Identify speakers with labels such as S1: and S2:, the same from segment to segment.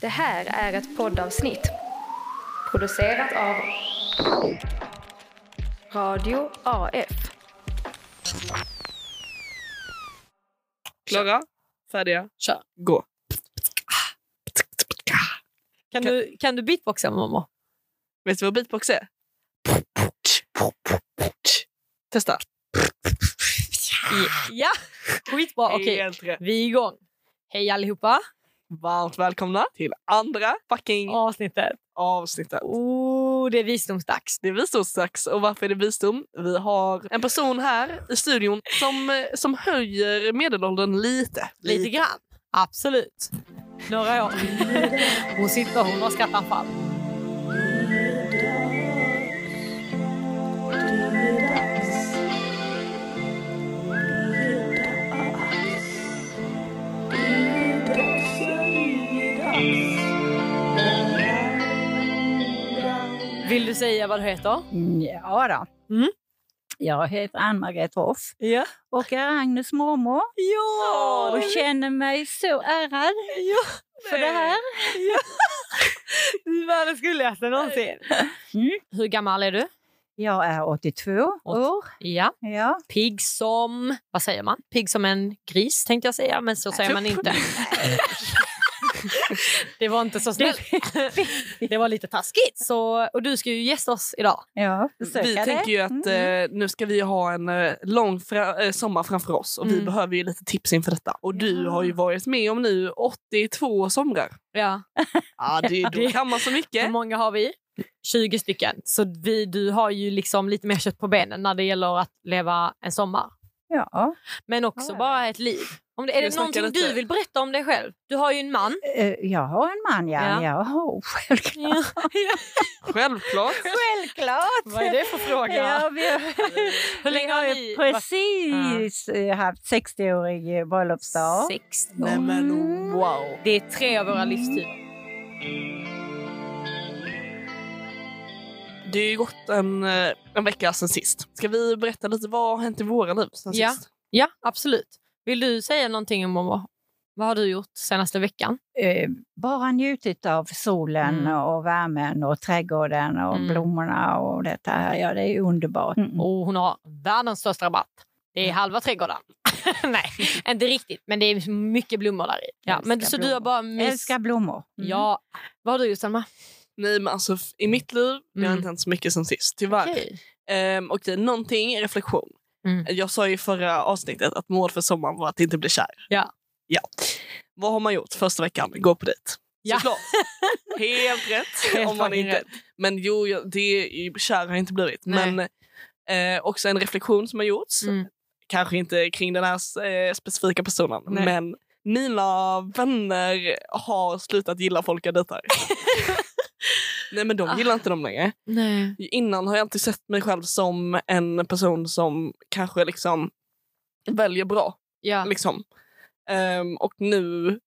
S1: Det här är ett poddavsnitt producerat av Radio AF.
S2: Klara, färdiga,
S3: Kör.
S2: gå.
S3: Kan, du, kan du beatboxa mamma?
S2: Vet du vad beatbox är? Testa.
S3: Ja, skitbra. Okej,
S2: Helt rätt.
S3: vi är igång. Hej allihopa.
S2: Varmt välkomna till andra fucking
S3: Avsnittet.
S2: avsnittet.
S3: Oh, det är visdomsdags.
S2: Det är visdomsdags. Och varför är det visdom? Vi har en person här i studion som, eh, som höjer medelåldern lite.
S3: Lite grann. Absolut. Några år. Hon sitter hon har skrattanfall. Vill du säga vad du heter?
S4: Ja då.
S3: Mm.
S4: Jag heter Ann-Margret Hoff
S3: Ja.
S4: och är Agnes mormor
S3: Ja!
S4: och känner mig så ärad
S3: Ja,
S4: för det här.
S3: du är världens gulligaste någonsin.
S4: Mm.
S3: Hur gammal är du?
S4: Jag är 82 år.
S3: Ja.
S4: Ja.
S3: Pigg som... Vad säger man? Pigg som en gris tänkte jag säga, men så säger man inte. typ. Det var inte så snällt. Det var lite taskigt. Så, och du ska ju gästa oss idag.
S4: ja försöka
S2: Vi
S4: det.
S2: tänker ju att
S4: Mm.
S2: eh, nu ska vi ha en eh, lång fra- eh, sommar framför oss och vi
S3: Mm.
S2: behöver ju lite tips inför detta. Och du
S4: Ja.
S2: har ju varit med om nu 82 somrar.
S3: Ja.
S2: Ja, det, då
S3: Det-
S2: kan man så
S3: Hur
S2: mycket.
S3: många har vi? 20 stycken. Så vi, du har ju liksom lite mer kött på benen när det gäller att leva en sommar.
S4: Ja.
S3: Men också
S4: Ja.
S3: bara ett liv. Om det, är
S2: Vi
S3: det
S2: snackar
S3: någonting
S2: lite-
S3: du vill berätta om dig själv? Du har ju en man.
S4: Eh, Jag har en man,
S3: Ja.
S4: ja. ja. Oh, självklart.
S2: Självklart.
S4: självklart.
S3: Vad är det för fråga?
S4: Ja, vi har
S3: Hur länge har ni
S4: precis eh, haft 60-årig eh, bröllopsdag.
S3: 16.
S2: Nej men
S3: Mm.
S2: wow.
S3: Det är tre av våra livstider.
S2: Det har ju gått en, eh, en vecka sedan sist. Ska vi berätta lite vad har hänt i våra liv sen
S3: Ja.
S2: sist?
S3: Ja, absolut. Vill du säga någonting om vad, vad har du gjort senaste veckan?
S4: eh, bara njutit av solen
S3: Mm.
S4: och värmen och trädgården och
S3: Mm.
S4: blommorna och detta här. Ja, det är underbart.
S3: Och hon har världens största rabatt. Det är halva trädgården. Nej, inte riktigt, men det är mycket blommor där i. Ja,
S4: Älskar
S3: men så du har
S4: blommor.
S3: bara
S4: Jag
S3: mys...
S4: älskar blommor. Mm.
S3: Ja. Vad har du gjort, Selma?
S2: Nej men alltså f- i mitt liv, det har
S3: Mm.
S2: inte hänt så mycket sen sist tyvärr. Ehm, Okej,
S3: Okej.
S2: okej någonting reflektion.
S3: Mm.
S2: Jag sa ju i förra avsnittet att mål för sommaren var att inte bli kär.
S3: Ja.
S2: ja. Vad har man gjort första veckan? Gå på dejt.
S3: Ja.
S2: Såklart. Helt rätt.
S3: Helt
S2: om man
S3: fucking
S2: inte.
S3: rätt.
S2: Men jo, jag- det är, kär har jag inte blivit.
S3: Nej.
S2: Men eh, också en reflektion som har gjorts.
S3: Mm.
S2: kanske inte kring den här eh, specifika personen,
S3: Nej.
S2: men mina vänner har slutat gilla folk jag dejtar. Nej men de gillar inte dem längre.
S3: Nej.
S2: Innan har jag alltid sett mig själv som en person som kanske liksom väljer bra.
S3: Ja.
S2: Liksom. Ehm, och nu,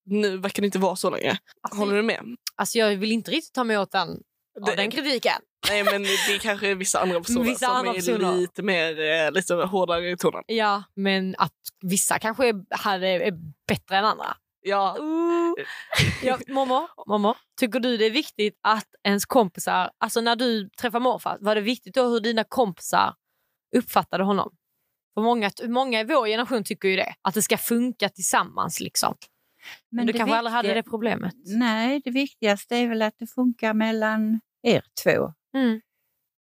S2: nu verkar det inte vara så längre. Håller du med?
S3: Alltså, jag vill inte riktigt ta mig åt den, av
S2: Det-
S3: den kritiken.
S2: Nej men det är kanske vissa andra personer
S3: Vissa
S2: som
S3: andra
S2: är
S3: personer.
S2: lite mer eh, lite hårdare i tonen.
S3: Ja, men att vissa kanske är, hade, är bättre än andra.
S2: Ja, Eh,
S3: Ja, mamma, mamma, tycker du det är viktigt att ens kompisar... Alltså när du träffar morfar, var det viktigt då hur dina kompisar uppfattade honom? För många, många i vår generation tycker ju det, att det ska funka tillsammans. liksom. Men, du
S4: det
S3: kanske aldrig hade det
S4: viktiga-
S3: problemet?
S4: Nej, det viktigaste är väl att det funkar mellan er två.
S3: Mm.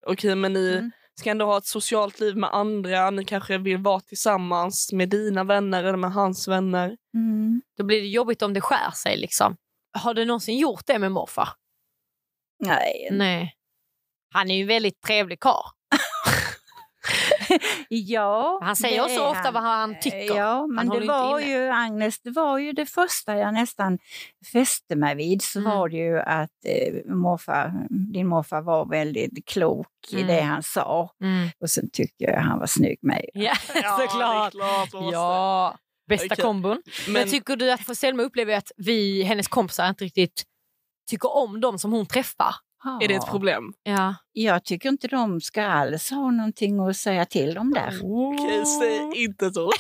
S2: okej men ni
S4: Mm.
S2: ska ändå ha ett socialt liv med andra. Ni kanske vill vara tillsammans med dina vänner eller med hans vänner.
S4: Mm.
S3: Då blir det jobbigt om det skär sig. liksom. Har du någonsin gjort det med morfar?
S4: Nej,
S3: Nej. Han är ju en väldigt trevlig karl.
S4: ja.
S3: Han
S4: det
S3: säger också
S4: är
S3: ofta vad han tycker.
S4: Ja, men
S3: håller
S4: det
S3: inte
S4: var
S3: inne.
S4: ju, Agnes, det var ju det första jag nästan fäste mig vid så
S3: Mm.
S4: var det ju att eh, morfar, din morfar var väldigt klok
S3: Mm.
S4: i det han sa.
S3: Mm.
S4: Och sen tyckte jag han var snygg med.
S3: Ja, såklart.
S2: det är klart man måste.
S3: Ja, bästa
S2: Okej.
S3: kombon. Men,
S2: Men,
S3: tycker du att för Selma upplever att vi, hennes kompisar inte riktigt tycker om dem som hon träffar?
S2: Är det ett problem?
S3: Ja.
S4: Jag tycker inte de ska alls ha någonting att säga till om där.
S2: Okej, säg inte så.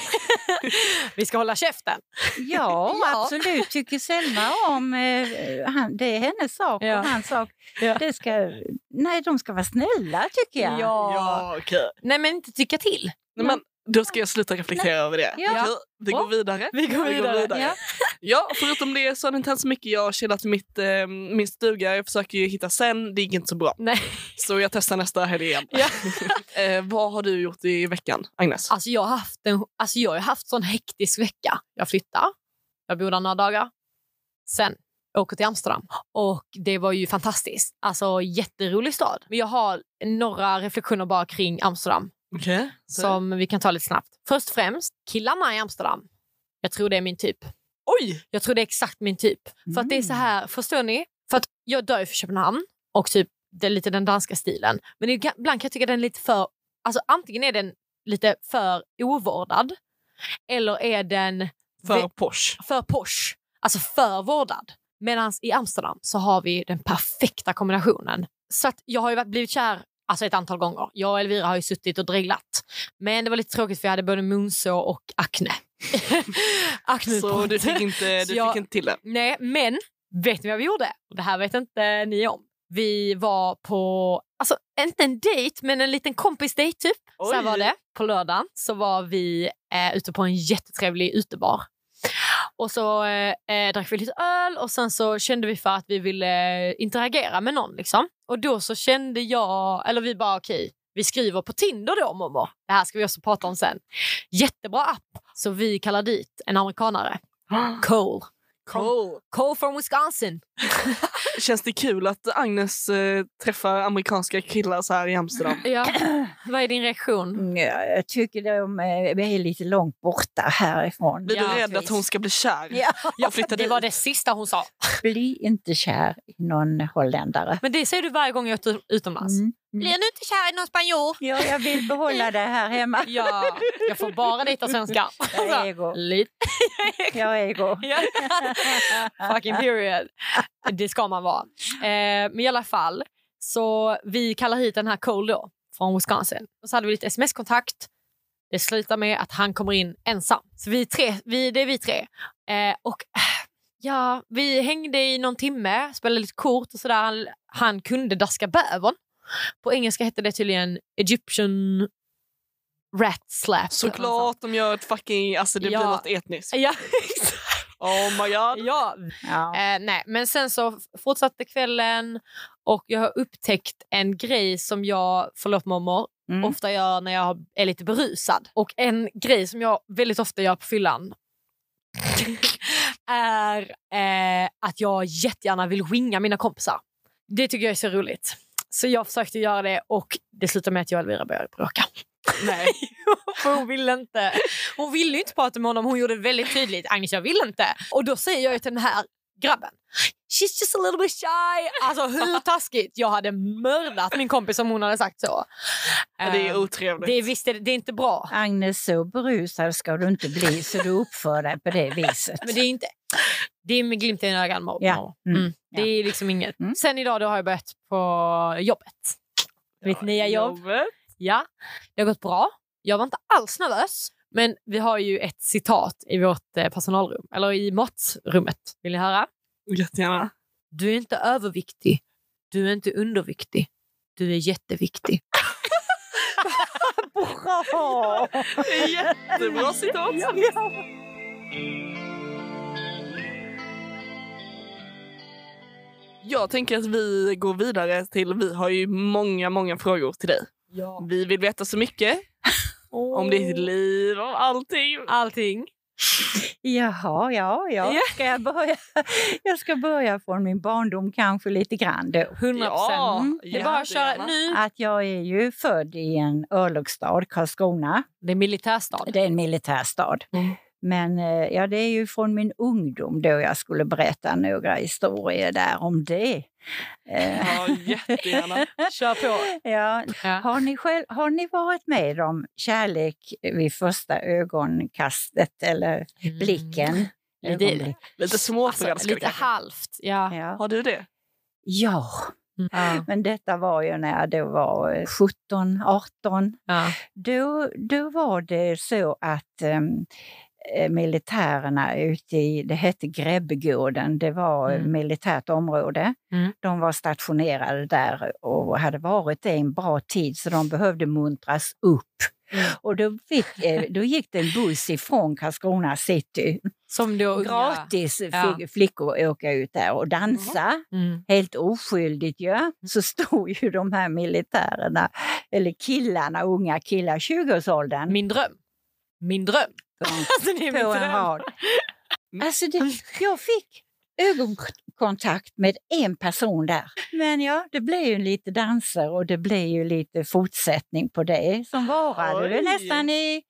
S3: Vi ska hålla käften.
S4: Ja,
S3: Ja.
S4: absolut. Tycker Selma om... Eh, han, det är hennes sak
S3: Ja.
S4: och hans sak.
S3: Ja.
S4: Det ska, nej, de ska vara snälla tycker jag.
S2: Ja, okej.
S3: Nej, men inte tycka till.
S2: Nej, men Då ska jag sluta reflektera över det.
S4: Ja.
S2: Okej, Vi går
S3: Ja.
S2: vidare.
S3: Vi går vidare.
S4: Ja.
S2: Ja, förutom det så är det inte hänt så mycket. Jag har chillat i mitt, eh, min stuga. Jag försöker ju hitta sen. Det gick inte så bra.
S3: Nej.
S2: Så jag testar nästa helg igen.
S3: Ja.
S2: eh, vad har du gjort i veckan, Agnes?
S3: Alltså, jag har haft en alltså, jag har haft sån hektisk vecka. Jag flyttar, jag bor där några dagar. Sen åker till Amsterdam. Och det var ju fantastiskt. Alltså jätterolig stad. Men jag har några reflektioner bara kring Amsterdam.
S2: Okej.
S3: som vi kan ta lite snabbt. Först och främst, killarna i Amsterdam. Jag tror det är min typ.
S2: Oj!
S3: Jag tror det är exakt min typ. För att det är så här, förstår ni? För att jag dör ju för Köpenhamn och typ det är lite den danska stilen. Men det- ibland kan jag tycka den är lite för, alltså antingen är den lite för ovårdad eller är den
S2: För
S3: vi-
S2: Porsche.
S3: för posh, alltså för vårdad. Medan i Amsterdam så har vi den perfekta kombinationen. Så att jag har ju varit- blivit kär alltså ett antal gånger. Jag och Elvira har ju suttit och dreglat. Men det var lite tråkigt för jag hade både munsår och akne.
S2: Så
S3: Akneutbrott.
S2: du fick inte, du
S3: Så jag-
S2: fick inte till det.
S3: Nej, men vet ni vad vi gjorde? Och Det här vet inte ni om. Vi var på, alltså inte en dejt, men en liten kompisdejt typ. Så här
S2: Oj.
S3: var det. På lördagen så var vi eh, ute på en jättetrevlig utebar. Och så eh, eh, drack vi lite öl och sen så kände vi för att vi ville eh, interagera med någon. Liksom. Och då så kände jag, eller vi bara okej, vi skriver på Tinder då Momo. Det här ska vi också prata om sen. Jättebra app. Så vi kallar dit en amerikanare, Cole.
S2: Cool.
S3: Cole from Wisconsin.
S2: Känns det kul att Agnes eh, träffar amerikanska killar så här i Amsterdam?
S3: Ja. Vad är din reaktion?
S4: Mm, ja, Jag tycker de eh, är lite långt borta härifrån.
S2: Blir
S3: Ja,
S2: du rädd att
S3: precis.
S2: hon ska bli kär?
S4: Ja.
S2: Jag flyttar
S3: Det
S2: dit.
S3: var det sista hon sa.
S4: Bli inte kär i någon holländare.
S3: Men det säger du varje gång jag är ut- utomlands.
S4: Mm.
S3: Blir du inte kär i någon spanjor?
S4: Ja, jag vill behålla det här hemma.
S3: Ja, jag får bara dejta svenskar.
S4: Jag är ego.
S3: Lite.
S4: Jag är ego.
S3: Ja. Fucking period. Det ska man vara. Eh, men i alla fall, så vi kallar hit den här Cole då, från Wisconsin. Och så hade vi lite sms-kontakt. Det slutar med att han kommer in ensam. Så vi är tre, vi, det är vi tre. Eh, och eh, ja, vi hängde i någon timme, spelade lite kort och sådär. Han, han kunde daska bävern. På engelska hette det tydligen Egyptian rat slap.
S2: Såklart de gör ett fucking... Alltså det blir
S3: Ja.
S2: något etniskt.
S3: Ja, exakt.
S2: Oh my god.
S3: ja,
S4: Ja.
S3: Eh, nej, men sen så f- fortsatte kvällen och jag har upptäckt en grej som jag, förlåt mormor,
S4: Mm.
S3: ofta gör när jag är lite berusad. Och en grej som jag väldigt ofta gör på fyllan är eh, att jag jättegärna vill winga mina kompisar. Det tycker jag är så roligt. Så jag försökte göra det och det slutade med att jag och Elvira började bråka.
S2: Nej.
S3: För hon ville inte. Hon ville ju inte prata med honom. Hon gjorde det väldigt tydligt. Agnes, jag vill inte. Och då säger jag ju till den här grabben. She's just a little bit shy. Alltså hur taskigt? Jag hade mördat min kompis om hon hade sagt så.
S2: Ja, Det är
S3: Ehm,
S2: otrevligt.
S3: det är, visst, är det, det är inte bra.
S4: Agnes, så berusad ska du inte bli så du uppför dig på det viset.
S3: Men det är inte... Det är med glimten i ögat. mormor.
S4: Ja.
S3: Mm.
S4: Mm.
S3: Det är liksom inget.
S4: Mm.
S3: Sen idag då har jag börjat på jobbet. Mitt nya jobb.
S2: Jobbet.
S3: Ja, det har gått bra. Jag var inte alls nervös. Men vi har ju ett citat i vårt eh, personalrum, eller i matrummet. Vill ni höra?
S2: Jättegärna.
S3: Du är inte överviktig. Du är inte underviktig. Du är jätteviktig.
S4: Bra!
S2: Det är jättebra citat. Jag tänker att vi går vidare till, vi har ju många, många frågor till dig.
S3: Ja.
S2: Vi vill veta så mycket om
S4: Oh.
S2: ditt liv, om allting.
S3: Allting.
S4: Jaha, ja, ja.
S3: Ja.
S4: Ska jag, börja? jag ska börja från min barndom kanske lite grann då.
S3: 100
S2: Ja,
S3: procent. Mm. Det är bara att köra
S2: jättegärna.
S3: nu.
S4: Att jag är ju född i en örlogsstad, Karlskrona.
S3: Det är militärstad.
S4: Det är en militärstad.
S2: Mm.
S4: Men eh, ja, det är ju från min ungdom då jag skulle berätta några historier där om det. Eh,
S2: Ja, jättegärna.
S3: Kör på.
S4: ja.
S3: Ja.
S4: har, ni själv, har ni varit med om kärlek vid första ögonkastet eller blicken?
S3: Mm. Det,
S4: Ögonblick.
S2: Lite småförälskad
S3: alltså, lite
S2: kanske.
S3: halvt. Ja.
S4: Ja.
S2: Har du det?
S4: ja,
S3: Ja.
S4: Men detta var ju när jag då var eh, 17, 18.
S3: Ja.
S4: Då, då var det så att em, eh, militärerna ute i, det hette Grebbegården, det var eh,
S3: Mm.
S4: militärt område.
S3: Mm.
S4: De var stationerade där och hade varit det en bra tid så de behövde muntras upp.
S3: Mm.
S4: Och då, fick, eh, då gick det en buss ifrån Karlskrona city.
S3: Som då unga.
S4: Gratis fick
S3: Ja.
S4: flickor åka ut där och dansa
S3: Mm.
S4: helt oskyldigt ju, så stod ju de här militärerna, eller killarna, unga killar, 20-årsåldern,
S3: Min dröm. Min dröm. Alltså, det är min
S4: på en
S3: dröm.
S4: rad.
S2: Mm.
S4: Alltså det, jag fick ögonkontakt med en person där. Men ja, det blev ju lite danser och det blev ju lite fortsättning på det som varade väl
S2: Oj.
S4: nästan i,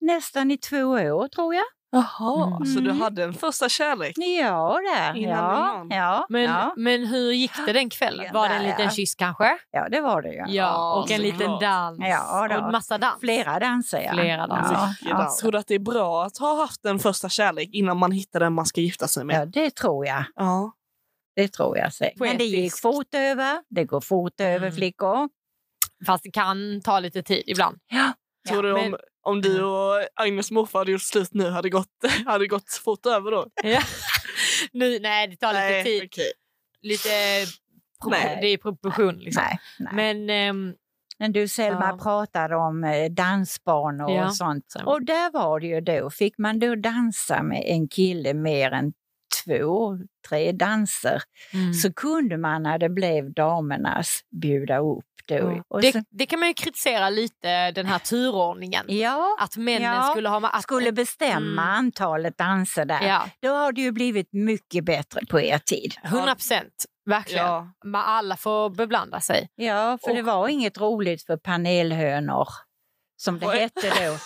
S4: nästan i två år tror jag.
S2: Jaha, så du
S4: Mm.
S2: hade en första kärlek?
S4: Ja, där.
S2: Innan
S4: Ja,
S2: innan.
S4: ja,
S3: Men,
S4: ja.
S3: men hur gick det den kvällen? Var det en liten
S4: Ja.
S3: kyss kanske?
S4: ja, det var det ju.
S3: Ja, och en
S2: såklart.
S3: liten dans.
S4: Ja, då.
S3: och en massa dans.
S4: Flera danser, ja.
S3: Flera danser.
S4: Ja,
S2: Jag
S4: ja.
S2: tror du att det är bra att ha haft en första kärlek innan man hittar den man ska gifta sig med?
S4: Ja, det tror jag.
S2: Ja.
S4: Det tror jag. Säkert. Men det gick
S3: Poetiskt.
S4: fort över. Det går fort över
S3: Mm.
S4: flickor.
S3: Fast det kan ta lite tid ibland.
S4: Ja,
S2: Tror du om,
S3: men-
S2: om du och Agnes morfar hade gjort slut nu hade det gått, hade det gått fort över då?
S3: Nu, nej, det tar lite
S2: Nej,
S3: tid.
S2: okej.
S3: Lite, pro-
S2: Nej.
S3: det är proportion liksom.
S4: Nej, nej. Men,
S3: Men ehm,
S4: du Selma
S3: Ja.
S4: pratade om eh, dansbanor
S3: Ja.
S4: och sånt.
S3: Sen-
S4: Och där var det ju då, fick man då dansa med en kille mer än två, tre danser
S3: Mm.
S4: så kunde man när det blev damernas bjuda upp då.
S2: Ja.
S4: Och så,
S3: det, det kan man ju kritisera lite, den här turordningen.
S4: ja,
S3: Att männen
S4: Ja.
S3: skulle ha... ma- Att,
S4: skulle bestämma
S3: Mm.
S4: antalet danser där.
S3: ja,
S4: Då har det ju blivit mycket bättre på er tid.
S3: 100 procent. Verkligen.
S2: Ja.
S3: Men Alla får beblanda sig.
S4: Ja, för det
S3: Och-
S4: var inget roligt för panelhönor, som det
S2: Oj.
S4: hette då.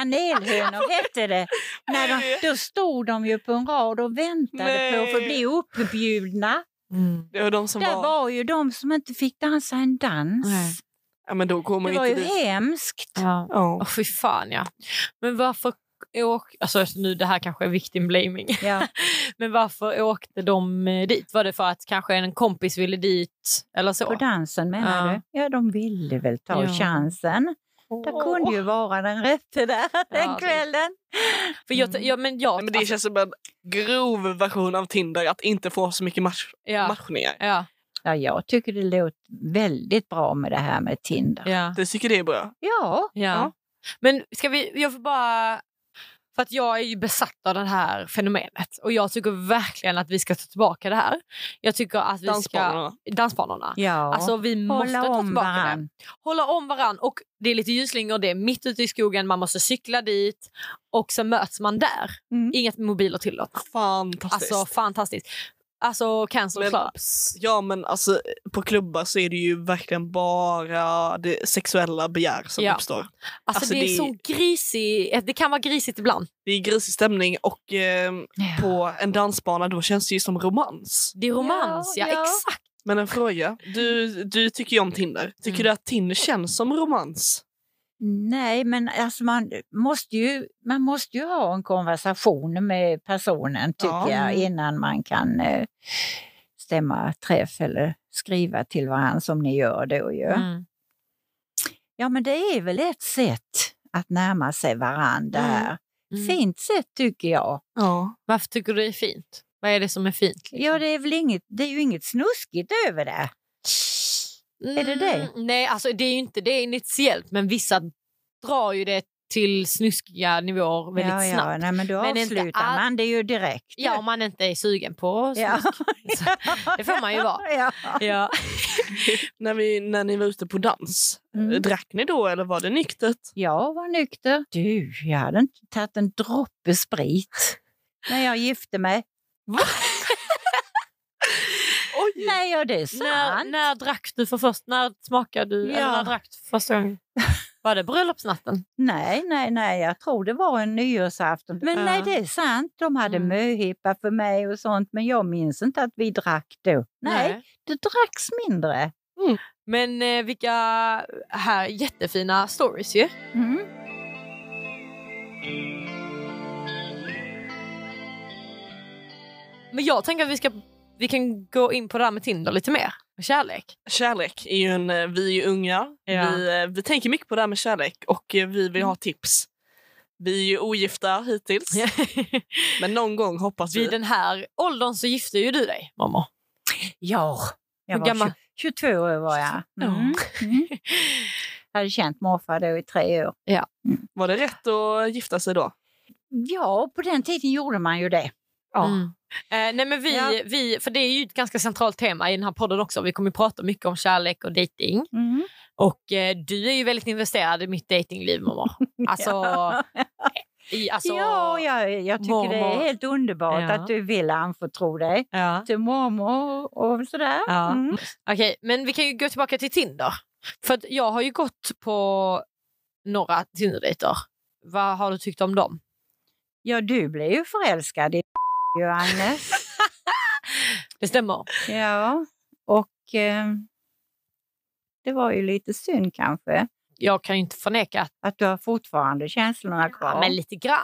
S4: Panelhönor hette det. När de, då stod de ju på en rad och väntade på att få
S2: Nej.
S4: bli uppbjudna. Mm.
S2: Det var de som
S4: Där
S2: var...
S4: var ju de som inte fick dansa en dans.
S3: Nej.
S2: Ja, men då går man
S4: Det
S2: ju
S4: var
S2: inte
S4: ju
S2: dit.
S4: hemskt.
S3: Ja.
S2: Ja.
S3: Oh, fy fan ja. Men varför åk... Alltså nu det här kanske är victim blaming.
S4: Ja.
S3: Men varför åkte de eh, dit? Var det för att kanske en kompis ville dit eller så?
S4: På dansen menar
S3: Ja.
S4: du? Ja, de ville väl ta
S3: Ja.
S4: chansen. Det kunde ju vara den rätte där den
S3: det-
S4: kvällen.
S3: För jag, ja, men jag,
S2: Nej, men det
S3: alltså,
S2: känns som en grov version av Tinder att inte få så mycket match,
S3: ja,
S2: matchningar.
S3: ja,
S4: Ja, jag tycker det låter väldigt bra med det här med Tinder.
S3: ja,
S2: Du tycker det är bra?
S4: Ja.
S3: ja. Men ska vi, jag får bara... För att jag är ju besatt av det här fenomenet och jag tycker verkligen att vi ska ta tillbaka det här. Jag tycker att vi ska...
S2: Dansbanorna?
S3: Dansbanorna.
S4: ja.
S3: Alltså vi måste
S4: Hålla
S3: ta
S4: om
S3: tillbaka det.
S4: varann.
S3: hålla om varann och det är lite ljusslingor, det är mitt ute i skogen, man måste cykla dit och så möts man där.
S4: Mm.
S3: Inget mobiler tillåtna.
S2: Fantastiskt.
S3: Alltså fantastiskt. Alltså cancel
S2: Men-
S3: clubs.
S2: Ja men alltså på klubbar så är det ju verkligen bara det sexuella begär som
S3: Ja.
S2: uppstår.
S3: Alltså,
S2: alltså,
S3: det är
S2: det-
S3: så grisig, det kan vara grisigt ibland.
S2: Det är grisig stämning och eh, på en dansbana då känns det ju som romans.
S3: Det är romans, ja,
S4: Ja, ja.
S3: exakt.
S2: Men en fråga, du, du tycker ju om Tinder. Tycker
S3: Mm.
S2: du att Tinder känns som romans?
S4: Nej, men alltså man, måste ju, man måste ju ha en konversation med personen tycker
S2: Ja.
S4: jag innan man kan eh, stämma träff eller skriva till varandra som ni gör då ju.
S3: Mm.
S4: Ja, men det är väl ett sätt att närma sig varandra
S2: Mm.
S4: här.
S3: Mm.
S4: Fint sätt tycker jag.
S2: Ja.
S3: Varför tycker du det är fint? Vad är det som är fint? liksom?
S4: Ja, det är väl inget, det är ju inget snuskigt över det. Är det det?
S3: Mm, Nej, alltså det är ju inte det initiellt men vissa drar ju det till snuskiga nivåer väldigt
S4: ja,
S3: snabbt.
S4: ja, nej, men då
S3: Men inte
S4: avslutar
S3: all-
S4: man det ju direkt.
S3: Ja, om man inte är sugen på
S4: Ja.
S3: snusk. Det får man ju vara.
S4: Ja.
S3: Ja.
S2: När, vi, när ni var ute på dans, Eh,
S4: Mm.
S2: drack ni då eller var det nyktert?
S4: Jag var nykter. Du, jag hade inte tagit en droppe sprit när jag gifte mig.
S2: Oj!
S4: Nej, ja, det är
S3: När,
S4: sant.
S3: när drack du för först? När smakade du? Eller
S4: Ja.
S3: när drack du för första gången? Var det bröllopsnatten?
S4: Nej, nej, nej, jag tror det var en nyårsafton. Men
S3: Ja.
S4: nej, det är sant. De hade
S3: Mm.
S4: möhippa för mig och sånt, men jag minns inte att vi drack då. Nej, det dracks mindre.
S3: Men eh, vilka här jättefina stories ju.
S4: Mm.
S3: Men jag tänker att vi, ska, vi kan gå in på det här med Tinder lite mer. Kärlek.
S2: Kärlek är ju en... eh, Vi är ju unga.
S3: Ja.
S2: Vi, eh, vi tänker mycket på det här med kärlek och eh, vi vill ha
S4: Mm.
S2: tips. Vi är ju ogifta hittills, men någon gång hoppas vi.
S3: Vid den här åldern så gifte ju du dig, mamma.
S4: Ja, jag
S3: Hur
S4: var
S3: gammal?
S4: 20, 22 år var jag. Mm. Mm. Hade känt morfar då i tre år.
S2: Var det rätt att gifta sig då?
S4: Ja, på den tiden gjorde man ju det.
S2: Ja.
S3: Mm. Eh, nej men vi,
S2: Ja.
S3: vi, för det är ju ett ganska centralt tema i den här podden också. Vi kommer ju prata mycket om kärlek och dating.
S4: Mm.
S3: Och eh, du är ju väldigt investerad i mitt datingliv, mamma. Alltså, i, alltså
S4: ja, jag, jag tycker det
S3: mormor.
S4: är helt underbart
S3: Ja.
S4: att du vill anförtro dig
S3: ja.
S4: till mormor och sådär.
S3: Ja.
S4: Mm.
S3: Okej, men vi kan ju gå tillbaka till Tinder. För att jag har ju gått på några Tinder-dejter. Vad har du tyckt om dem?
S4: Ja, du blev ju förälskad i Johannes.
S3: Det stämmer.
S4: Ja, och eh, det var ju lite synd kanske
S3: Jag kan ju inte förneka att
S4: att du har fortfarande känslorna kvar.
S3: men lite grann.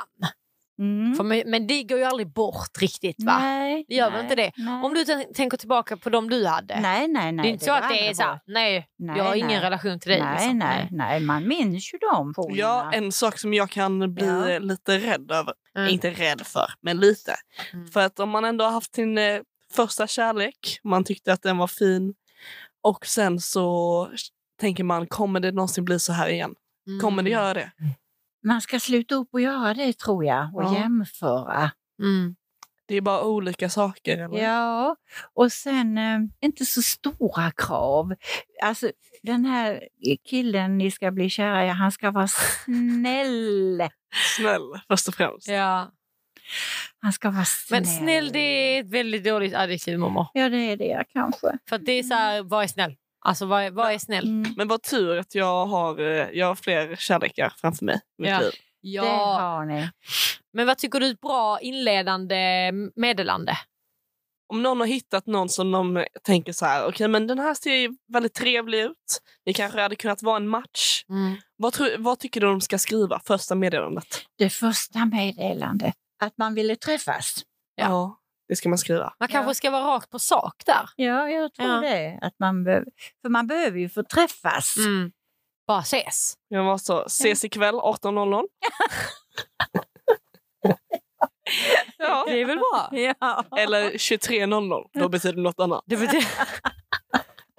S4: Mm.
S3: För mig, men det går ju aldrig bort riktigt va?
S4: Nej,
S3: Det gör
S4: nej,
S3: väl inte det?
S4: Nej.
S3: Om du tän- tänker tillbaka på dem du hade.
S4: Nej, nej, nej.
S3: det är inte så
S4: var
S3: att det är
S4: aldrig
S3: så här,
S4: bra.
S3: nej,
S4: Nej,
S3: jag har ingen
S4: nej.
S3: relation till dig.
S4: Nej,
S3: liksom.
S4: nej, nej, man minns ju dem. Polarna.
S2: Ja, en sak som jag kan bli
S4: Ja.
S2: eh, lite rädd över.
S3: Mm.
S2: Inte rädd för, men lite.
S3: Mm.
S2: För att om man ändå har haft sin eh, första kärlek, man tyckte att den var fin och sen så tänker man, kommer det någonsin bli så här igen?
S3: Mm.
S2: Kommer det göra det?
S4: Man ska sluta upp och göra det tror jag och
S2: Ja.
S4: jämföra.
S3: Mm.
S2: Det är bara olika saker. Eller?
S4: Ja, och sen eh, inte så stora krav. Alltså den här killen ni ska bli kära i, han ska vara snäll.
S2: Snäll, först och främst.
S3: Ja.
S4: Han ska vara snäll.
S3: Men snäll, det är ett väldigt dåligt adjektiv mamma.
S4: Ja, det är det kanske.
S3: För att det är så här, vad är snäll? Alltså vad är, vad är snäll?
S4: Mm.
S2: Men vad tur att jag har, eh, jag har fler kärlekar framför mig. i Mitt
S3: Ja.
S2: liv.
S4: Det
S3: Ja.
S4: har ni.
S3: Men vad tycker du är ett bra inledande meddelande?
S2: Om någon har hittat någon som de tänker så här, okej men den här ser ju väldigt trevlig ut. Det kanske hade kunnat vara en match. Vad, tror- vad tycker du de ska skriva? Första meddelandet?
S4: Det första meddelandet, att man ville träffas.
S3: Ja.
S2: det ska man skriva.
S3: Man kanske ska vara rakt på sak där.
S4: Ja, jag tror
S3: Ja.
S4: det. Att man be- för man behöver ju få träffas.
S3: Mm. Bara ses.
S2: Jag var så, ses ikväll 18.00. ja.
S3: Det är väl bra?
S4: Ja.
S2: Eller 23.00, då betyder det något annat.
S3: Det betyder,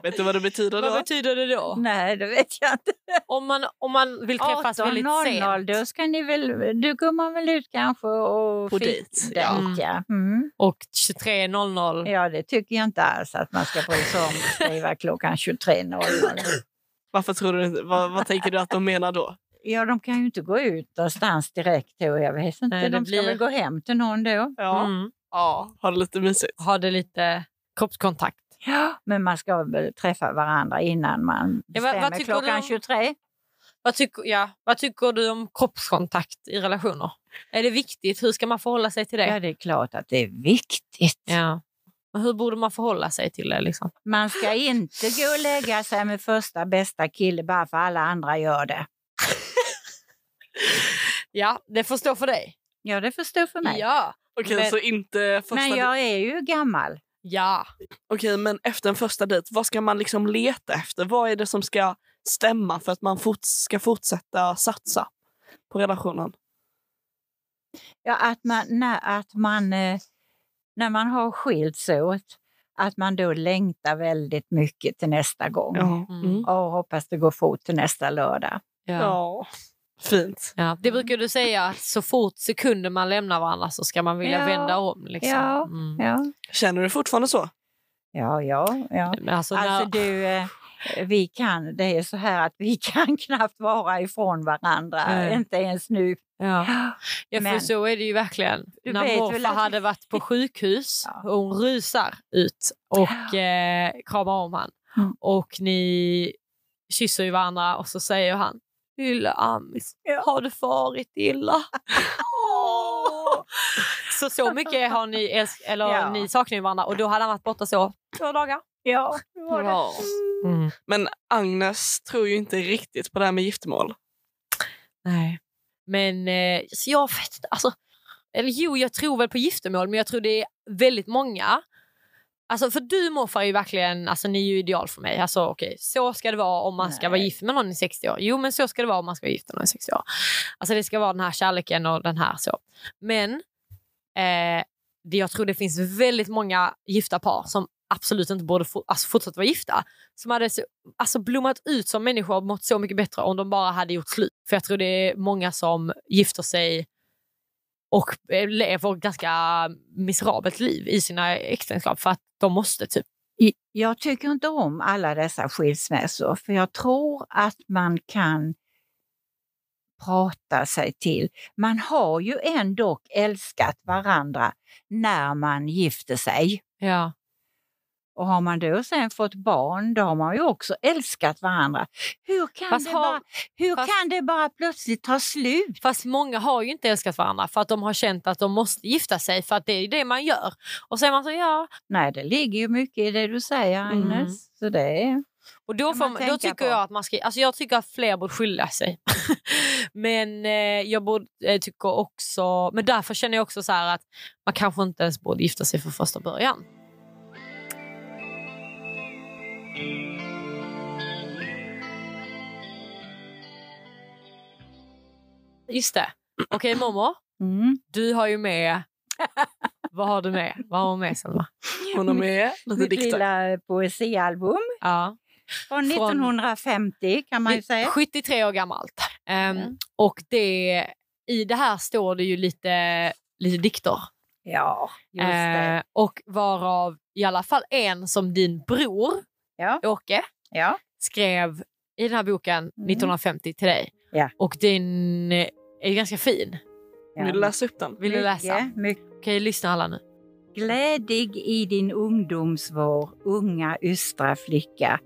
S2: Vet du vad det betyder
S3: vad
S2: då?
S3: betyder det då?
S4: Nej, det vet jag inte.
S3: Om man, om man vill träffas Alltså, väldigt
S4: 18.00,
S3: sent
S4: då, ska ni väl, då går man väl ut kanske och
S2: På
S4: fik-
S2: dejt,
S4: dejt,
S2: ja.
S4: ja. Mm.
S3: och 23.00.
S4: ja, det tycker jag inte alls att man ska bry sig om att skriva klockan 23.00.
S2: Varför tror du, vad, vad tänker du att de menar då?
S4: Ja, de kan ju inte gå ut någonstans direkt då. Jag vet inte,
S3: Nej, det
S4: de ska
S3: blir-
S4: väl gå hem till någon då.
S2: Ja,
S3: Mm.
S2: ja har det lite mysigt.
S3: Ha det lite kroppskontakt.
S4: Ja, men man ska väl träffa varandra innan man
S3: Ja, vad- vad
S4: bestämmer
S3: tycker du
S4: klockan
S3: om-
S4: 23.
S3: Vad, tycker- ja, vad tycker du om kroppskontakt i relationer? Är det viktigt? Hur ska man förhålla sig till det?
S4: Ja, det är klart att det är viktigt.
S3: Ja. Men hur borde man förhålla sig till det? Liksom?
S4: Man ska inte gå och lägga sig med första bästa kille bara för alla andra gör det.
S3: Ja, det får stå för dig.
S4: Ja, det förstår för mig.
S3: Ja.
S2: Okej,
S3: Men-
S2: så inte första
S4: men
S2: dej-
S4: jag är ju gammal.
S3: ja.
S2: Okej, men efter en första dejt, vad ska man liksom leta efter? Vad är det som ska stämma för att man forts- ska fortsätta satsa på relationen?
S4: Ja, att man, när, att man, eh, när man har skilts åt, att man då längtar väldigt mycket till nästa gång.
S2: Ja. Mm.
S4: Och hoppas det går fort till nästa lördag.
S3: Ja.
S2: ja. Fint.
S3: Ja, det brukar du säga att så fort sekunder man lämnar varandra så ska man vilja
S4: Ja.
S3: vända om. Liksom.
S4: Ja.
S3: Mm.
S4: Ja,
S2: Känner du fortfarande så?
S4: ja, ja. ja.
S3: Men alltså, när,
S4: Alltså du, eh, vi kan, det är så här att vi kan knappt vara ifrån varandra,
S3: Nej.
S4: inte ens nu.
S3: ja. Ja, för
S4: Men-
S3: så är det ju verkligen.
S4: Du
S3: när
S4: vet väl
S3: morfar
S4: att-
S3: hade varit på sjukhus
S4: Ja.
S3: och hon rusar ut och eh, kramar om han.
S4: Mm.
S3: Och ni kysser ju varandra och så säger han Lilla Amis,
S4: Ja.
S3: har du farit illa? Åh. så så mycket har ni, älsk- eller
S4: Ja.
S3: ni saknar ju varandra och då hade han varit borta så två dagar.
S4: Ja,
S2: Bra.
S4: Mm.
S2: Men Agnes tror ju inte riktigt på det här med giftermål.
S3: Nej. Men eh, så jag vet inte. Alltså, eller jo, jag tror väl på giftermål men jag tror det är väldigt många Alltså för du morfar är ju verkligen, alltså ni är ju ideal för mig. Alltså okej, så ska det vara om man ska
S4: Nej.
S3: vara gift med någon i 60 år. Jo men så ska det vara om man ska vara gift med någon i 60 år. Alltså det ska vara den här kärleken och den här så. Men eh, det, jag tror det finns väldigt många gifta par som absolut inte borde få, alltså fortsätta vara gifta. Som hade så, alltså blommat ut som människor och mått så mycket bättre om de bara hade gjort slut. För jag tror det är många som gifter sig och eh, lever ett ganska miserabelt liv i sina äktenskap för att de måste typ.
S4: I- Jag tycker inte om alla dessa skilsmässor, för jag tror att man kan prata sig till. Man har ju ändå älskat varandra när man gifte sig.
S3: Ja.
S4: Och har man då sen fått barn, då har man ju också älskat varandra. Hur kan,
S3: Fast
S4: det,
S3: har-
S4: bara, hur
S3: fast-
S4: kan det bara plötsligt ta slut?
S3: Fast många har ju inte älskat varandra för att de har känt att de måste gifta sig för att det är ju det man gör. Och så är man så, ja.
S4: Nej, det ligger ju mycket i det du säger,
S3: Mm.
S4: Agnes. Så det är...
S3: Och då,
S4: Kan
S3: får,
S4: man
S3: man- då
S4: tänka
S3: tycker
S4: på.
S3: jag att man ska, alltså jag tycker att fler borde skilja sig. men eh, jag borde, eh, tycker också, men därför känner jag också så här att man kanske inte ens borde gifta sig från första början. Just det. Okej mormor,
S4: Mm.
S3: du har ju med... Vad har du med? Vad har hon med Selma?
S2: Hon har med lite
S4: Mitt
S2: dikter.
S4: lilla poesialbum
S3: Ja.
S4: från
S3: Från-
S4: 1950 kan man ju säga.
S3: 73 år gammalt. Ehm, Och det, i det här står det ju lite, lite dikter.
S4: Ja, just det.
S3: Eh, och varav i alla fall en som din bror
S4: Ja,
S3: Åke
S4: ja.
S3: skrev i den här boken 1950 till dig.
S4: Mm. Ja.
S3: Och den eh, är ganska fin.
S4: ja.
S2: Vill du läsa upp den?
S3: Vill du läsa?
S4: Mycket, mycket.
S3: Okej, lyssna alla nu.
S4: Glädig i din ungdomsvår, unga ystra flicka.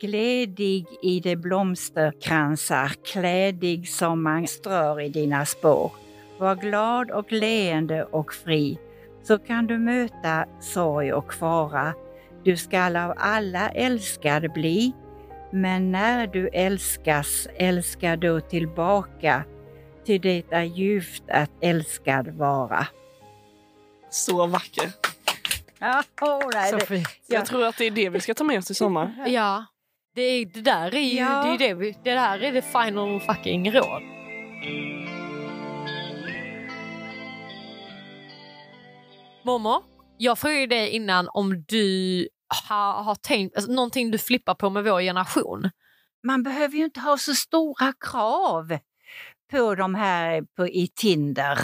S4: Glädig i de blomsterkransar, klädig som man strör i dina spår. Var glad och leende och fri, så kan du möta sorg och fara. Du skall av alla älskad bli, men när du älskas, älska då tillbaka, ty det är ljuvt att älskad vara.
S2: Så vacker.
S4: Ja, oh, nej, det-
S3: fint.
S4: Ja.
S2: Jag tror att det är det vi ska ta med oss i sommar.
S3: Ja. Det, är, det där är ju
S4: Ja.
S3: det, är ju det, vi- det där är det final fucking råd. Mormor, jag frågade ju dig innan om du har, har tänkt, alltså, någonting du flippar på med vår generation.
S4: man behöver ju inte ha så stora krav på de här på, i Tinder.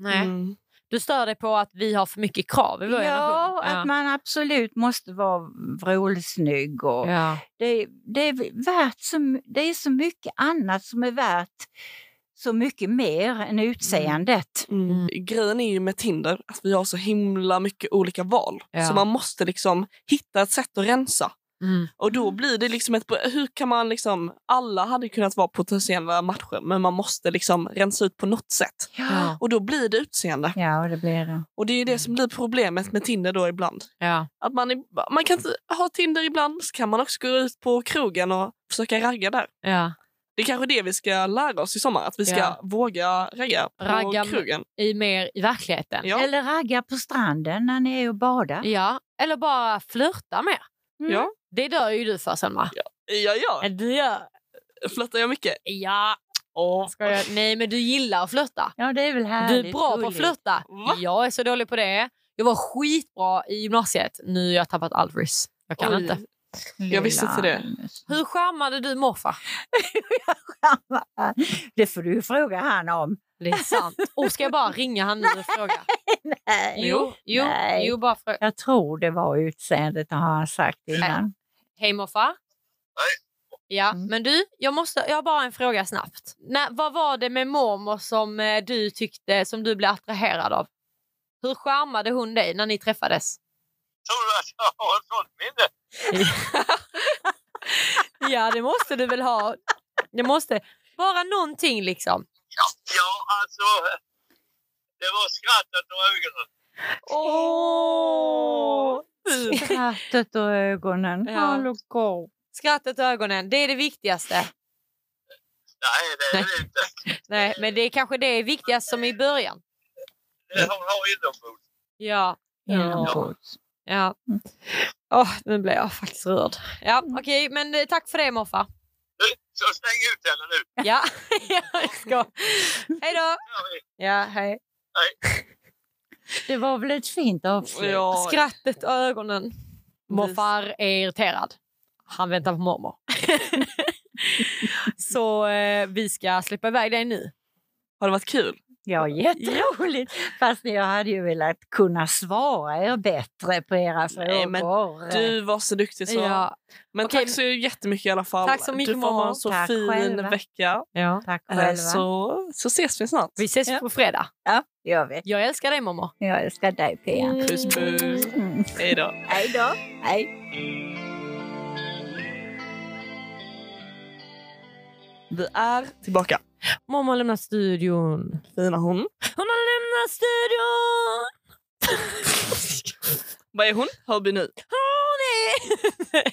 S2: Mm.
S3: Du stör dig på att vi har för mycket krav i vår generation.
S4: Ja, att man absolut måste vara vrålsnygg. Och
S3: ja.
S4: det, det, är värt så, det är så mycket annat som är värt så mycket mer än utseendet.
S2: Mm.
S3: Mm.
S2: Grejen är ju med Tinder att vi har så himla mycket olika val.
S3: Ja.
S2: Så man måste liksom hitta ett sätt att rensa.
S3: Mm.
S2: Och då blir det liksom ett... Hur kan man liksom... Alla hade kunnat vara potentiella matcher men man måste liksom rensa ut på något sätt.
S3: Ja.
S2: Och då blir det utseende.
S4: ja, det blir det.
S2: Och det är ju det som blir problemet med Tinder då ibland.
S3: Ja.
S2: Att man, är, man kan inte ha Tinder ibland så kan man också gå ut på krogen och försöka ragga där.
S3: Ja.
S2: Det är kanske det vi ska lära oss i sommar, att vi ska
S3: Ja.
S2: våga ragga på
S3: Ragga med-
S2: krogen.
S3: I mer i verkligheten.
S2: Ja.
S4: Eller ragga på stranden när ni är och badar.
S3: Ja. Eller bara flirta mer.
S4: Mm.
S2: Ja.
S3: Det dör ju du för Selma.
S2: Ja, ja.
S3: Du gör.
S2: Flörtar jag mycket?
S3: Ja.
S2: Åh.
S3: Ska jag? Nej, men du gillar att flirta.
S4: Ja, det är väl härligt.
S3: Du är bra på att
S4: roligt.
S3: flirta.
S2: Va?
S3: Jag är så dålig på det. Jag var skitbra i gymnasiet. Nu har jag tappat all risk. Jag kan
S2: Oj.
S3: inte.
S2: Jag visste inte det.
S3: Hur charmade du morfar?
S4: Det får du ju fråga han om.
S3: Det är sant. Och ska jag bara ringa han nu och fråga?
S4: Nej.
S3: Jo, jo,
S4: Nej.
S3: jo bara fråga.
S4: Jag tror det var utseendet, har han sagt innan.
S3: Hej morfar. Ja,
S4: Mm.
S3: men du, jag, måste, jag har bara en fråga snabbt. När, vad var det med mormor som eh, du tyckte som du blev attraherad av? Hur charmade hon dig när ni träffades?
S5: Tror du att jag har ett sånt minne?
S3: Ja, det måste du väl ha. Det måste vara någonting liksom.
S5: Ja, alltså. Det var skrattet och ögonen.
S3: Åh!
S4: Skrattet och ögonen.
S3: Ja.
S4: Hallå, gå.
S3: Skrattet och ögonen, det är det viktigaste.
S5: Nej, det är det inte.
S3: Nej, men det är kanske det viktigaste som är i början.
S5: Det har jag inombords.
S3: Ja.
S4: Inombords.
S3: Ja. Åh, nu blev jag faktiskt rörd. Ja, okej, men eh, tack för det Moffa.
S5: Så stäng ut henne nu.
S3: Ja, jag ska. Hej då!
S5: Ja, vi-
S3: Ja, hej.
S4: Det var väl ett fint avslut?
S2: Ja,
S3: Skrattet och ögonen. Morfar är irriterad. Han väntar på mormor. Så eh, vi ska släppa iväg dig nu.
S2: Har det varit kul?
S4: Ja, jätteroligt. Fast jag hade ju velat kunna svara er bättre på era frågor.
S2: Nej, men Du var så duktig så.
S3: Ja.
S2: Men
S3: Okej.
S2: tack så jättemycket i alla fall.
S3: Tack så mycket,
S2: du får ha
S3: Momo.
S2: en så
S4: Tack
S2: fin
S4: själva.
S2: vecka.
S3: Ja.
S4: Tack
S2: Eh,
S4: själva.
S2: Så, så ses vi snart.
S3: Vi ses
S4: Ja.
S3: på fredag.
S4: Ja, gör vi.
S3: Jag älskar dig mormor.
S4: Jag älskar dig, Pia.
S2: Puss puss.
S4: Mm.
S2: Hej då.
S4: Hej då. Hej.
S2: Vi är tillbaka.
S3: Mormor lämnar studion.
S2: Fina hon.
S3: Hon har lämnat studion!
S2: Vad är hon? Hörby nu.
S3: Hon är...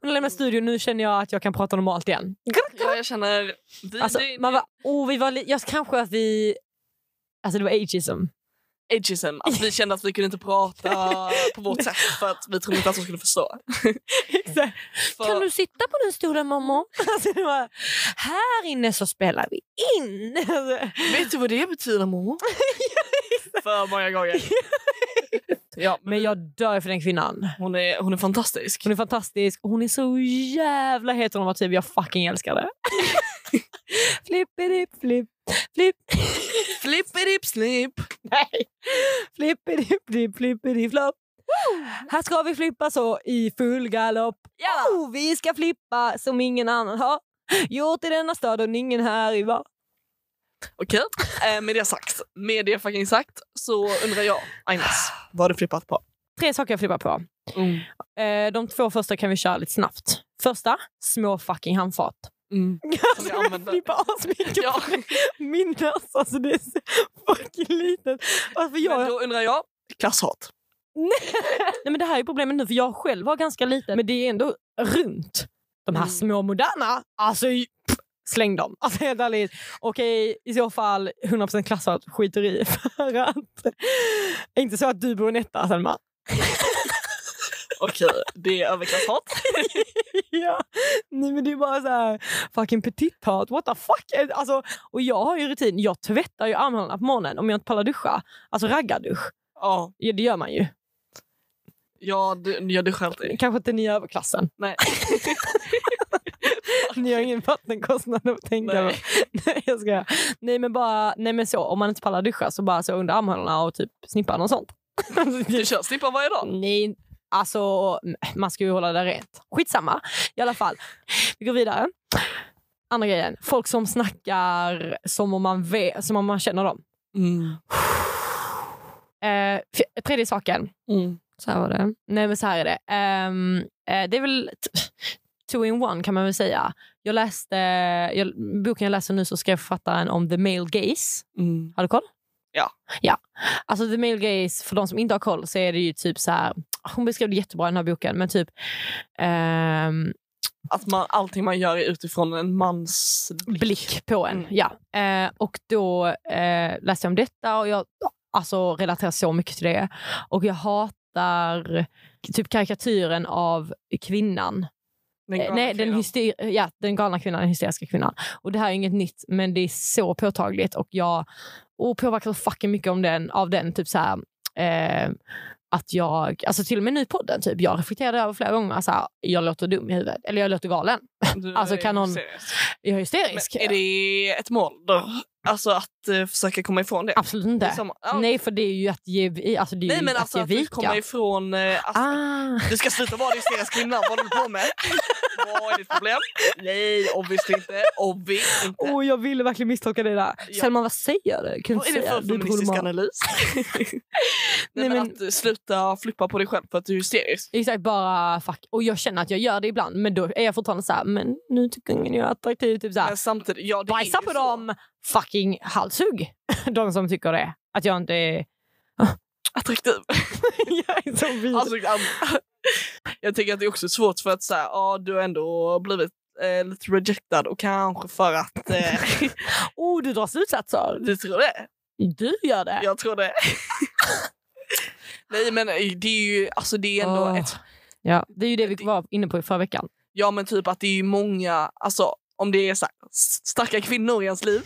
S3: Hon har lämnat studion. Nu känner jag att jag kan prata normalt igen.
S2: Ja, jag känner... Vi,
S3: Alltså,
S2: det,
S3: man var, oh, vi var li- jag kanske att vi... Alltså det var ageism.
S2: ageism. Alltså, vi kände att vi kunde inte prata på vårt sätt för att vi trodde inte att de skulle förstå. För,
S3: Kan du sitta på den stolen mamma? Alltså, det var, här inne så spelar vi in. Alltså,
S2: Vet du vad det betyder mormor? för många gånger. ja, men
S3: Men jag dör för den kvinnan.
S2: hon, är, hon är fantastisk.
S3: Hon är fantastisk. och Hon är så jävla heteronormativ. Jag fucking älskar det. Flippedipp, flipp, flipp.
S2: Flippedipp slipp.
S3: Nej. Flippedipp, flipp, flippedipp, flopp. Här ska vi flippa så i full galopp. Oh, vi ska flippa som ingen annan har gjort i denna staden. Ingen här i var.
S2: Okej, eh, med det sagt, med det fucking sagt så undrar jag, Agnes, vad har du flippat på?
S3: Tre saker jag flippar på.
S2: Mm.
S3: Eh, de två första kan vi köra lite snabbt. Första, små fucking handfat.
S2: Mm. Som jag
S3: Alltså, jag
S2: använder.
S3: flippar asmycket
S2: Ja.
S3: på min näsa. Alltså, det är så fucking litet. Alltså, jag,
S2: Men då undrar jag, klasshat.
S3: nej, men det här är problemet nu, för jag själv var ganska liten. Men det är ändå runt. De här
S2: Mm.
S3: små moderna, alltså i- pff, släng dem. Alltså helt ärligt. Okej, i så fall 100% klasshat skiter i. För att, inte så att du bor i en etta, Selma.
S2: Okej, det är överklasshat.
S3: ja. Nej, men det är bara så här, fucking petit hat, what the fuck? Alltså, och jag har ju rutin, jag tvättar ju armhålorna på morgonen om jag inte pallar duscha. Alltså raggardusch,
S2: Ja,
S3: ja, det gör man ju.
S2: jag, du- jag duschar alltid.
S3: Kanske inte ni i överklassen.
S2: Nej.
S3: Ni har ingen vattenkostnad att tänka på.
S2: Nej.
S3: Nej, jag skojar. Nej, men bara, nej, men så, om man inte pallar duscha så bara så under armhålorna och typ snippan och sånt.
S2: Du kör snippa varje dag.
S3: Nej, alltså man ska ju hålla det rent. Skitsamma, i alla fall. Vi går vidare. Andra grejen, folk som snackar som om man, vet, som om man känner dem.
S2: Mm.
S3: Eh, f- tredje saken.
S2: Mm.
S3: Så här var det. Nej men så här är det. Ehm, eh, det är väl t- two in one kan man väl säga. Jag läste, jag, boken jag läser nu så skrev författaren om the male gaze.
S2: Mm.
S3: Har du koll?
S2: Ja.
S3: ja. Alltså the male gaze, för de som inte har koll så är det ju typ så här. Hon beskrev det jättebra i den här boken men typ ehm,
S2: Att man, allting man gör är utifrån en mans
S3: blick på en.
S2: Mm.
S3: Ja. Eh, och då eh, läste jag om detta och jag alltså, relaterar så mycket till det. Och jag hatar typ karikatyren av kvinnan.
S2: Den
S3: Eh, Nej, den, hyster- ja, den galna kvinnan, den hysteriska kvinnan. Och det här är inget nytt, men det är så påtagligt och jag oh, påverkas så fucking mycket om den, av den. Typ så här, eh, att jag, alltså till och med nu i podden, typ, jag reflekterade över flera gånger så här, jag låter dum i huvudet, eller jag låter galen.
S2: Du
S3: alltså,
S2: är
S3: kan någon-
S2: seriös.
S3: Jag är
S2: Men
S3: hysterisk.
S2: Är det ett mål då? Alltså att eh, försöka komma ifrån det?
S3: Absolut inte.
S2: Det är samma- ja.
S3: Nej, för det är ju att ge, alltså, det är
S2: Nej
S3: ju
S2: men
S3: att
S2: alltså
S3: ge
S2: att vi
S3: vika.
S2: kommer ifrån... eh, Alltså,
S3: ah.
S2: Du ska sluta vara en hysterisk kvinna, vad håller du på med? Vad är ditt problem? Nej, obviously inte. Obvious inte.
S3: Oh, jag ville verkligen misstolka det där.
S2: Ja.
S3: Selma, vad säger du? Kan
S2: vad
S3: inte
S2: är det
S3: säga
S2: för
S3: att du är
S2: feministisk
S3: problematisk.
S2: analys? Nej,
S3: Nej,
S2: men
S3: men-
S2: att eh, sluta flippa på dig själv för att du är hysterisk.
S3: Exakt, bara fuck. Och jag känner att jag gör det ibland, men då är jag fortfarande så här, men nu tycker ingen jag är attraktiv. Typ så här,
S2: Men samtidigt, ja det är
S3: bajsa
S2: ju
S3: på
S2: så.
S3: dem, fucking halshugg. De som tycker det. Att jag inte är...
S2: Attraktiv.
S3: jag är så vidrig.
S2: Alltså, am- jag tycker att det är också svårt för att så här, ja, du har ändå blivit eh, lite rejectad och kanske för att eh,
S3: oh, du drar slutsatser.
S2: du tror det.
S3: Du gör det.
S2: Jag tror det. Nej men det är ju alltså det är ändå
S3: Åh.
S2: ett...
S3: Ja, det är ju det vi var inne på i förra veckan.
S2: Ja men typ att det är ju många, alltså om det är så här, s- starka kvinnor i ens liv,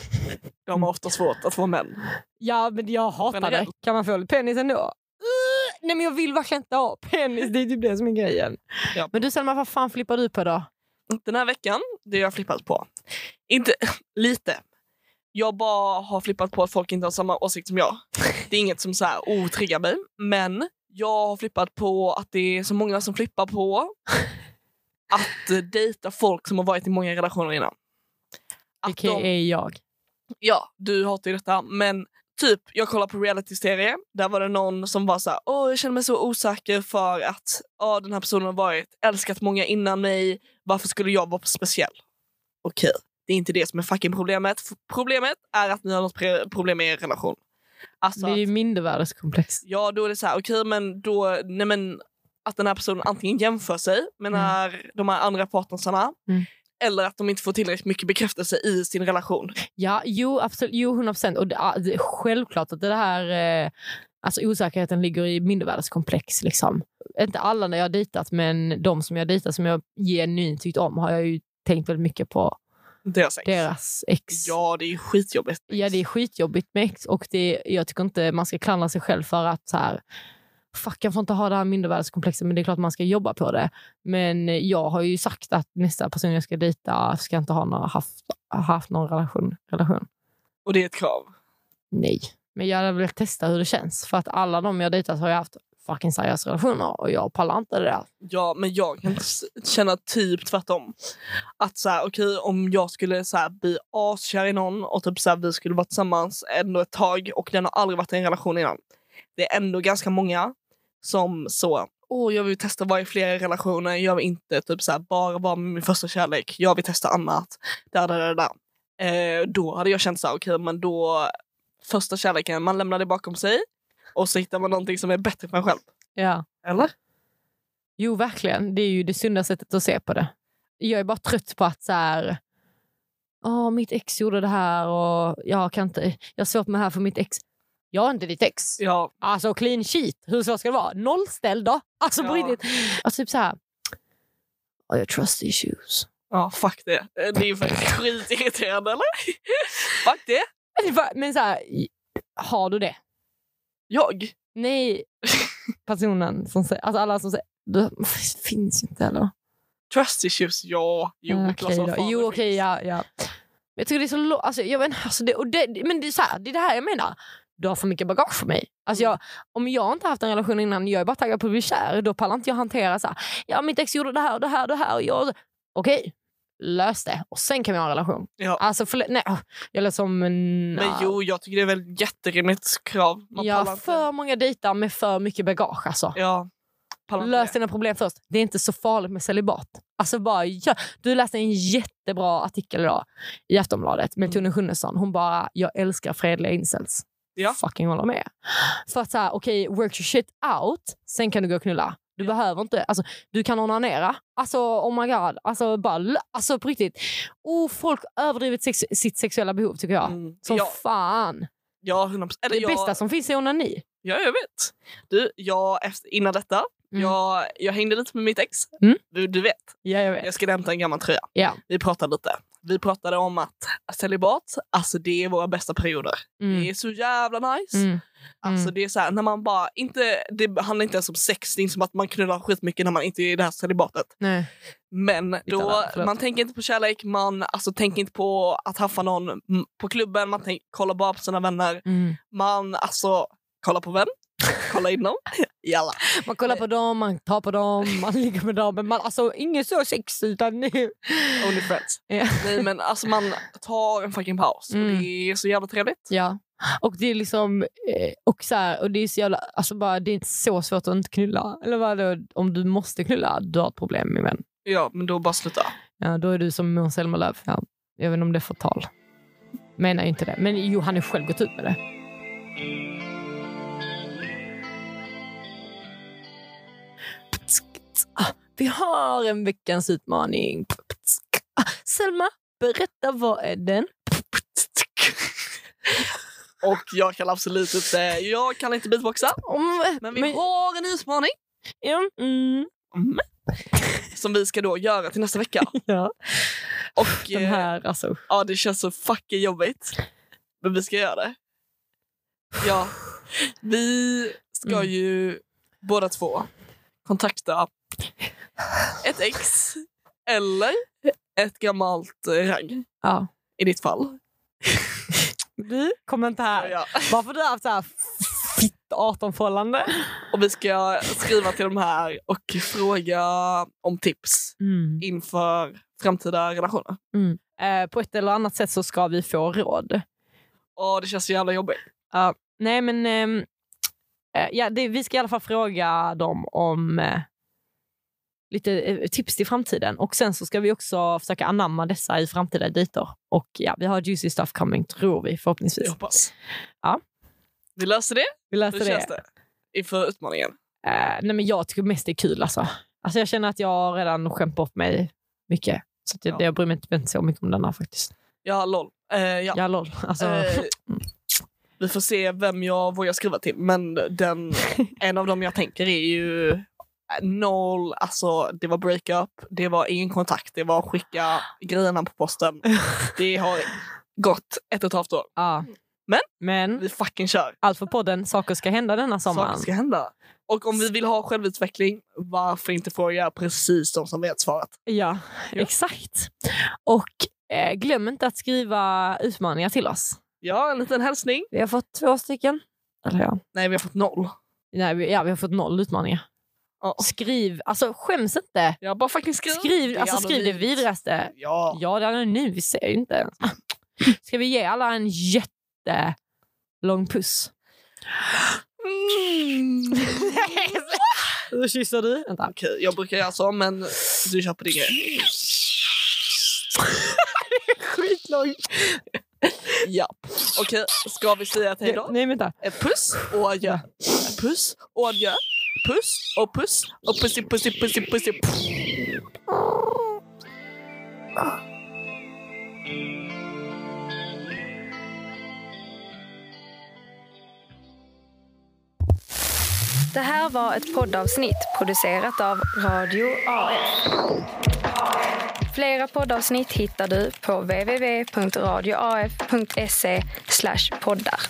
S2: de har ofta svårt att få män.
S3: Ja, men jag hatar
S2: Generellt.
S3: det. Kan man få penis ändå? Uh, nej, men jag vill verkligen inte ha penis. Det är typ det som är grejen.
S2: Ja.
S3: Men du Selma, vad fan flippar du på då?
S2: Den här veckan, det har jag flippat på. Inte lite. Jag bara har flippat på att folk inte har samma åsikt som jag. Det är inget som så här otriggar mig. Men jag har flippat på att det är så många som flippar på att eh, dejta folk som har varit i många relationer innan. Att
S3: Okej,
S2: de-
S3: är jag.
S2: ja, du hatar ju detta, men typ jag kollar på reality-serie. Där var det någon som var så här, åh jag känner mig så osäker för att åh, den här personen har varit älskat många innan mig. Varför skulle jag vara speciell? Okej, det är inte det som är fucking problemet. F- Problemet är att ni har något pre- problem med er relation. Alltså,
S3: det är ju
S2: att,
S3: mindervärdeskomplex.
S2: ja, då är det så här, okej, men då, nej men att den här personen antingen jämför sig med
S3: Mm.
S2: när de här andra partnersarna
S3: Mm.
S2: eller att de inte får tillräckligt mycket bekräftelse i sin relation.
S3: Ja, jo, absolut. Jo, 100 procent. Och det, ja, det är självklart att det här... Eh, alltså osäkerheten ligger i mindervärdeskomplex. Liksom. Inte alla när jag har dejtat, men de som jag dejtat som jag genuint tyckt om har jag ju tänkt väldigt mycket på
S2: Det har jag sagt.
S3: deras ex.
S2: Ja, det är ju skitjobbigt.
S3: Ja, det är skitjobbigt med ex och det, jag tycker inte man ska klandra sig själv för att så här, fuck jag får inte ha det här mindervärdeskomplexet men det är klart man ska jobba på det. Men jag har ju sagt att nästa person jag ska dejta ska inte ha några, haft, haft någon relation, relation.
S2: Och det är ett krav.
S3: Nej, men jag hade velat testa hur det känns för att alla de jag dejtat har ju haft fucking seriösa relationer och jag pallar inte det där.
S2: Ja, men jag kan s- känna typ tvärtom. Att så här, okej, om jag skulle så här, bli askär i någon och typ så här, vi skulle vara tillsammans ändå ett tag och den har aldrig varit i en relation innan. Det är ändå ganska många som så, åh, jag vill testa att vara i flera relationer. Jag vill inte typ så här, bara vara med min första kärlek. Jag vill testa annat. Där, där, där, där. Eh, då hade jag känt så här, okej, men då första kärleken, man lämnar det bakom sig och så hittar man någonting som är bättre för en själv.
S3: Ja.
S2: Eller?
S3: Jo, verkligen. Det är ju det sunda sättet att se på det. Jag är bara trött på att så här... Åh, mitt ex gjorde det här och jag kan inte... Jag har svårt med det här för mitt ex. Jag är inte ditt ex.
S2: Ja,
S3: Alltså clean sheet. Hur svårt ska det vara? Nollställ då? Alltså på
S2: Ja.
S3: riktigt. Alltså typ så här... Oh, jag trust issues.
S2: Ja, fuck det. Eh, Det är ju faktiskt skitirriterande, eller? fuck det.
S3: Det är bara- Alltså, Men så här... Har du det?
S2: Jag?
S3: Nej. Personen som säger... Alltså alla som säger... Du, finns ju inte heller.
S2: Trust issues? Ja. Jo,
S3: Ja,
S2: klart
S3: Mm, okej
S2: som
S3: då.
S2: fan
S3: Jo,
S2: det
S3: okej,
S2: finns.
S3: ja, ja. Men Jag tycker det är så lo- alltså, jag men, alltså, det, och det, men det är, så här, det är det här jag menar. Du har för mycket bagage för mig. Alltså
S2: Mm.
S3: jag, om jag inte haft en relation innan, jag är bara taggad på att bli kär, då pallar inte jag hantera så här, ja mitt ex gjorde det här och det här och det här. Och jag, okej, lös det. Och sen kan vi ha en relation.
S2: Ja.
S3: Alltså förlåt, nej. åh, Jag lät som en...
S2: Men jo, jag tycker det är väl ett jätterimligt krav. Man pallar
S3: ja,
S2: inte-
S3: för många dejtar med för mycket bagage alltså.
S2: Ja. pallar inte
S3: Lös
S2: det.
S3: dina problem först. Det är inte så farligt med celibat. Alltså bara, ja. Du läste en jättebra artikel idag i Aftonbladet
S2: Mm.
S3: med Tone Schunnesson. Hon bara, jag älskar fredliga incels.
S2: Ja.
S3: Fucking håller med. För att såhär, okej, work your shit out, sen kan du gå och knulla. Du behöver inte, alltså du kan onanera. Alltså oh my god, alltså bara, lö- alltså på riktigt. Oh, folk överdrivet sex, sitt sexuella behov tycker jag.
S2: Mm.
S3: Som
S2: Ja,
S3: fan.
S2: ja, 100%. Eller
S3: Det
S2: jag,
S3: bästa som finns är onani.
S2: Ja, jag vet. Du, jag, efter, innan detta,
S3: Mm.
S2: jag, jag hängde lite med mitt ex.
S3: Mm.
S2: Du, du vet,
S3: Ja, jag vet.
S2: jag skulle hämta en gammal tröja.
S3: Ja.
S2: Vi pratade lite. Vi pratade om att celibat, alltså det är våra bästa perioder. Det
S3: Mm.
S2: är så jävla nice.
S3: Mm.
S2: Alltså
S3: Mm.
S2: det är så här, när man bara, inte, det handlar inte ens om sex, det är inte som att man knullar skitmycket när man inte är i det här celibatet.
S3: Nej.
S2: Men då,
S3: där, förlåt.
S2: man tänker inte på kärlek, man alltså, tänker inte på att haffa någon mm, på klubben, man tänk, kollar bara på sina vänner.
S3: Mm.
S2: Man alltså, kollar på vem? Kollar in dem? Jalla.
S3: Man kollar på dem, man tar på dem, man ligger med dem. Men man, alltså inget så sex utan...
S2: Only friends.
S3: Ja.
S2: Nej men alltså man tar en fucking paus och
S3: Mm.
S2: det är så jävla trevligt.
S3: ja. Och det är liksom... eh, Och så här, och det är så jävla... Alltså bara, det är inte så svårt att inte knulla. Eller vad är det, om du måste knulla, du har ett problem min vän.
S2: Ja men då bara sluta.
S3: Ja, då är du som Måns Zelmerlöw. Ja. Jag vet inte om det är förtal. Menar ju inte det. Men jo, han har ju själv gått ut med det. Ah, Vi har en veckans utmaning. Ah, Selma, berätta vad är den?
S2: Och jag kan absolut inte, jag kan inte beatboxa. Mm, Men vi
S3: Men-
S2: har en utmaning.
S3: Mm. Mm.
S2: Mm. Som vi ska då göra till nästa vecka.
S3: Ja.
S2: Och
S3: Den
S2: eh,
S3: här alltså.
S2: ja, det känns så fucking jobbigt. Men vi ska göra det. Ja. Vi ska
S3: Mm.
S2: ju båda två kontakta ett ex eller ett gammalt eh, ragg
S3: Ja.
S2: i ditt fall.
S3: Du kommer inte här.
S2: Ja.
S3: Varför du har haft så här fitt 18-förhållande?
S2: Och vi ska skriva till de här och fråga om tips
S3: Mm.
S2: inför framtida relationer.
S3: Eh, på ett eller annat sätt så ska vi få råd.
S2: Åh, det känns så jävla jobbigt.
S3: Nej men ehm, eh, ja, det, vi ska i alla fall fråga dem om eh, lite eh, tips till framtiden och sen så ska vi också försöka anamma dessa i framtida dejter. Och ja, vi har juicy stuff coming tror vi
S2: Jag
S3: förhoppningsvis.
S2: hoppas.
S3: Ja.
S2: Vi löser det.
S3: Vi
S2: Hur
S3: löser det.
S2: känns det? Inför utmaningen.
S3: Eh, nej, men jag tycker mest det är kul alltså. alltså. Jag känner att jag har redan skämt bort mig mycket. Så att jag,
S2: Ja.
S3: jag bryr mig inte inte så mycket om den här faktiskt.
S2: Ja, lol. Eh, ja.
S3: Ja, lol. Alltså,
S2: Eh, vi får se vem jag vågar skriva till, men den, en av dem jag tänker är ju eh, noll, alltså det var breakup, det var ingen kontakt, det var skicka grejerna på posten. Det har gått ett och ett halvt år.
S3: ja.
S2: men-
S3: men
S2: Vi fucking kör.
S3: allt för podden. Saker ska hända denna sommaren.
S2: Saker ska hända. Och om vi vill ha självutveckling, varför inte fråga precis de som vet svaret?
S3: Ja,
S2: Ja.
S3: exakt. Och eh, glöm inte att skriva utmaningar till oss.
S2: Ja, en liten hälsning.
S3: Vi har fått två stycken. Eller ja.
S2: Nej, vi har fått noll.
S3: Nej, vi, ja, vi har fått noll utmaningar.
S2: Ja.
S3: Skriv, alltså skäms inte.
S2: Ja, bara fucking skriv.
S3: Skriv
S2: är
S3: det, alltså, skriv det
S2: anonymt.
S3: vidraste.
S2: Ja.
S3: Ja, det är nu, vi ser ju inte. Ska vi ge alla en jättelång puss? Då kysser du. Vänta.
S2: Okej, jag brukar göra så, men du köper din grej.
S3: Skitlång.
S2: Ja. Okej, ska vi säga ett hejdå?
S3: Nej, vänta.
S2: Ett puss och adjö. Puss och adjö. Puss och puss och pussi pussi pussi pussi.
S1: Det här var ett poddavsnitt producerat av Radio AF. Flera poddavsnitt hittar du på www.radioaf.se E poddar.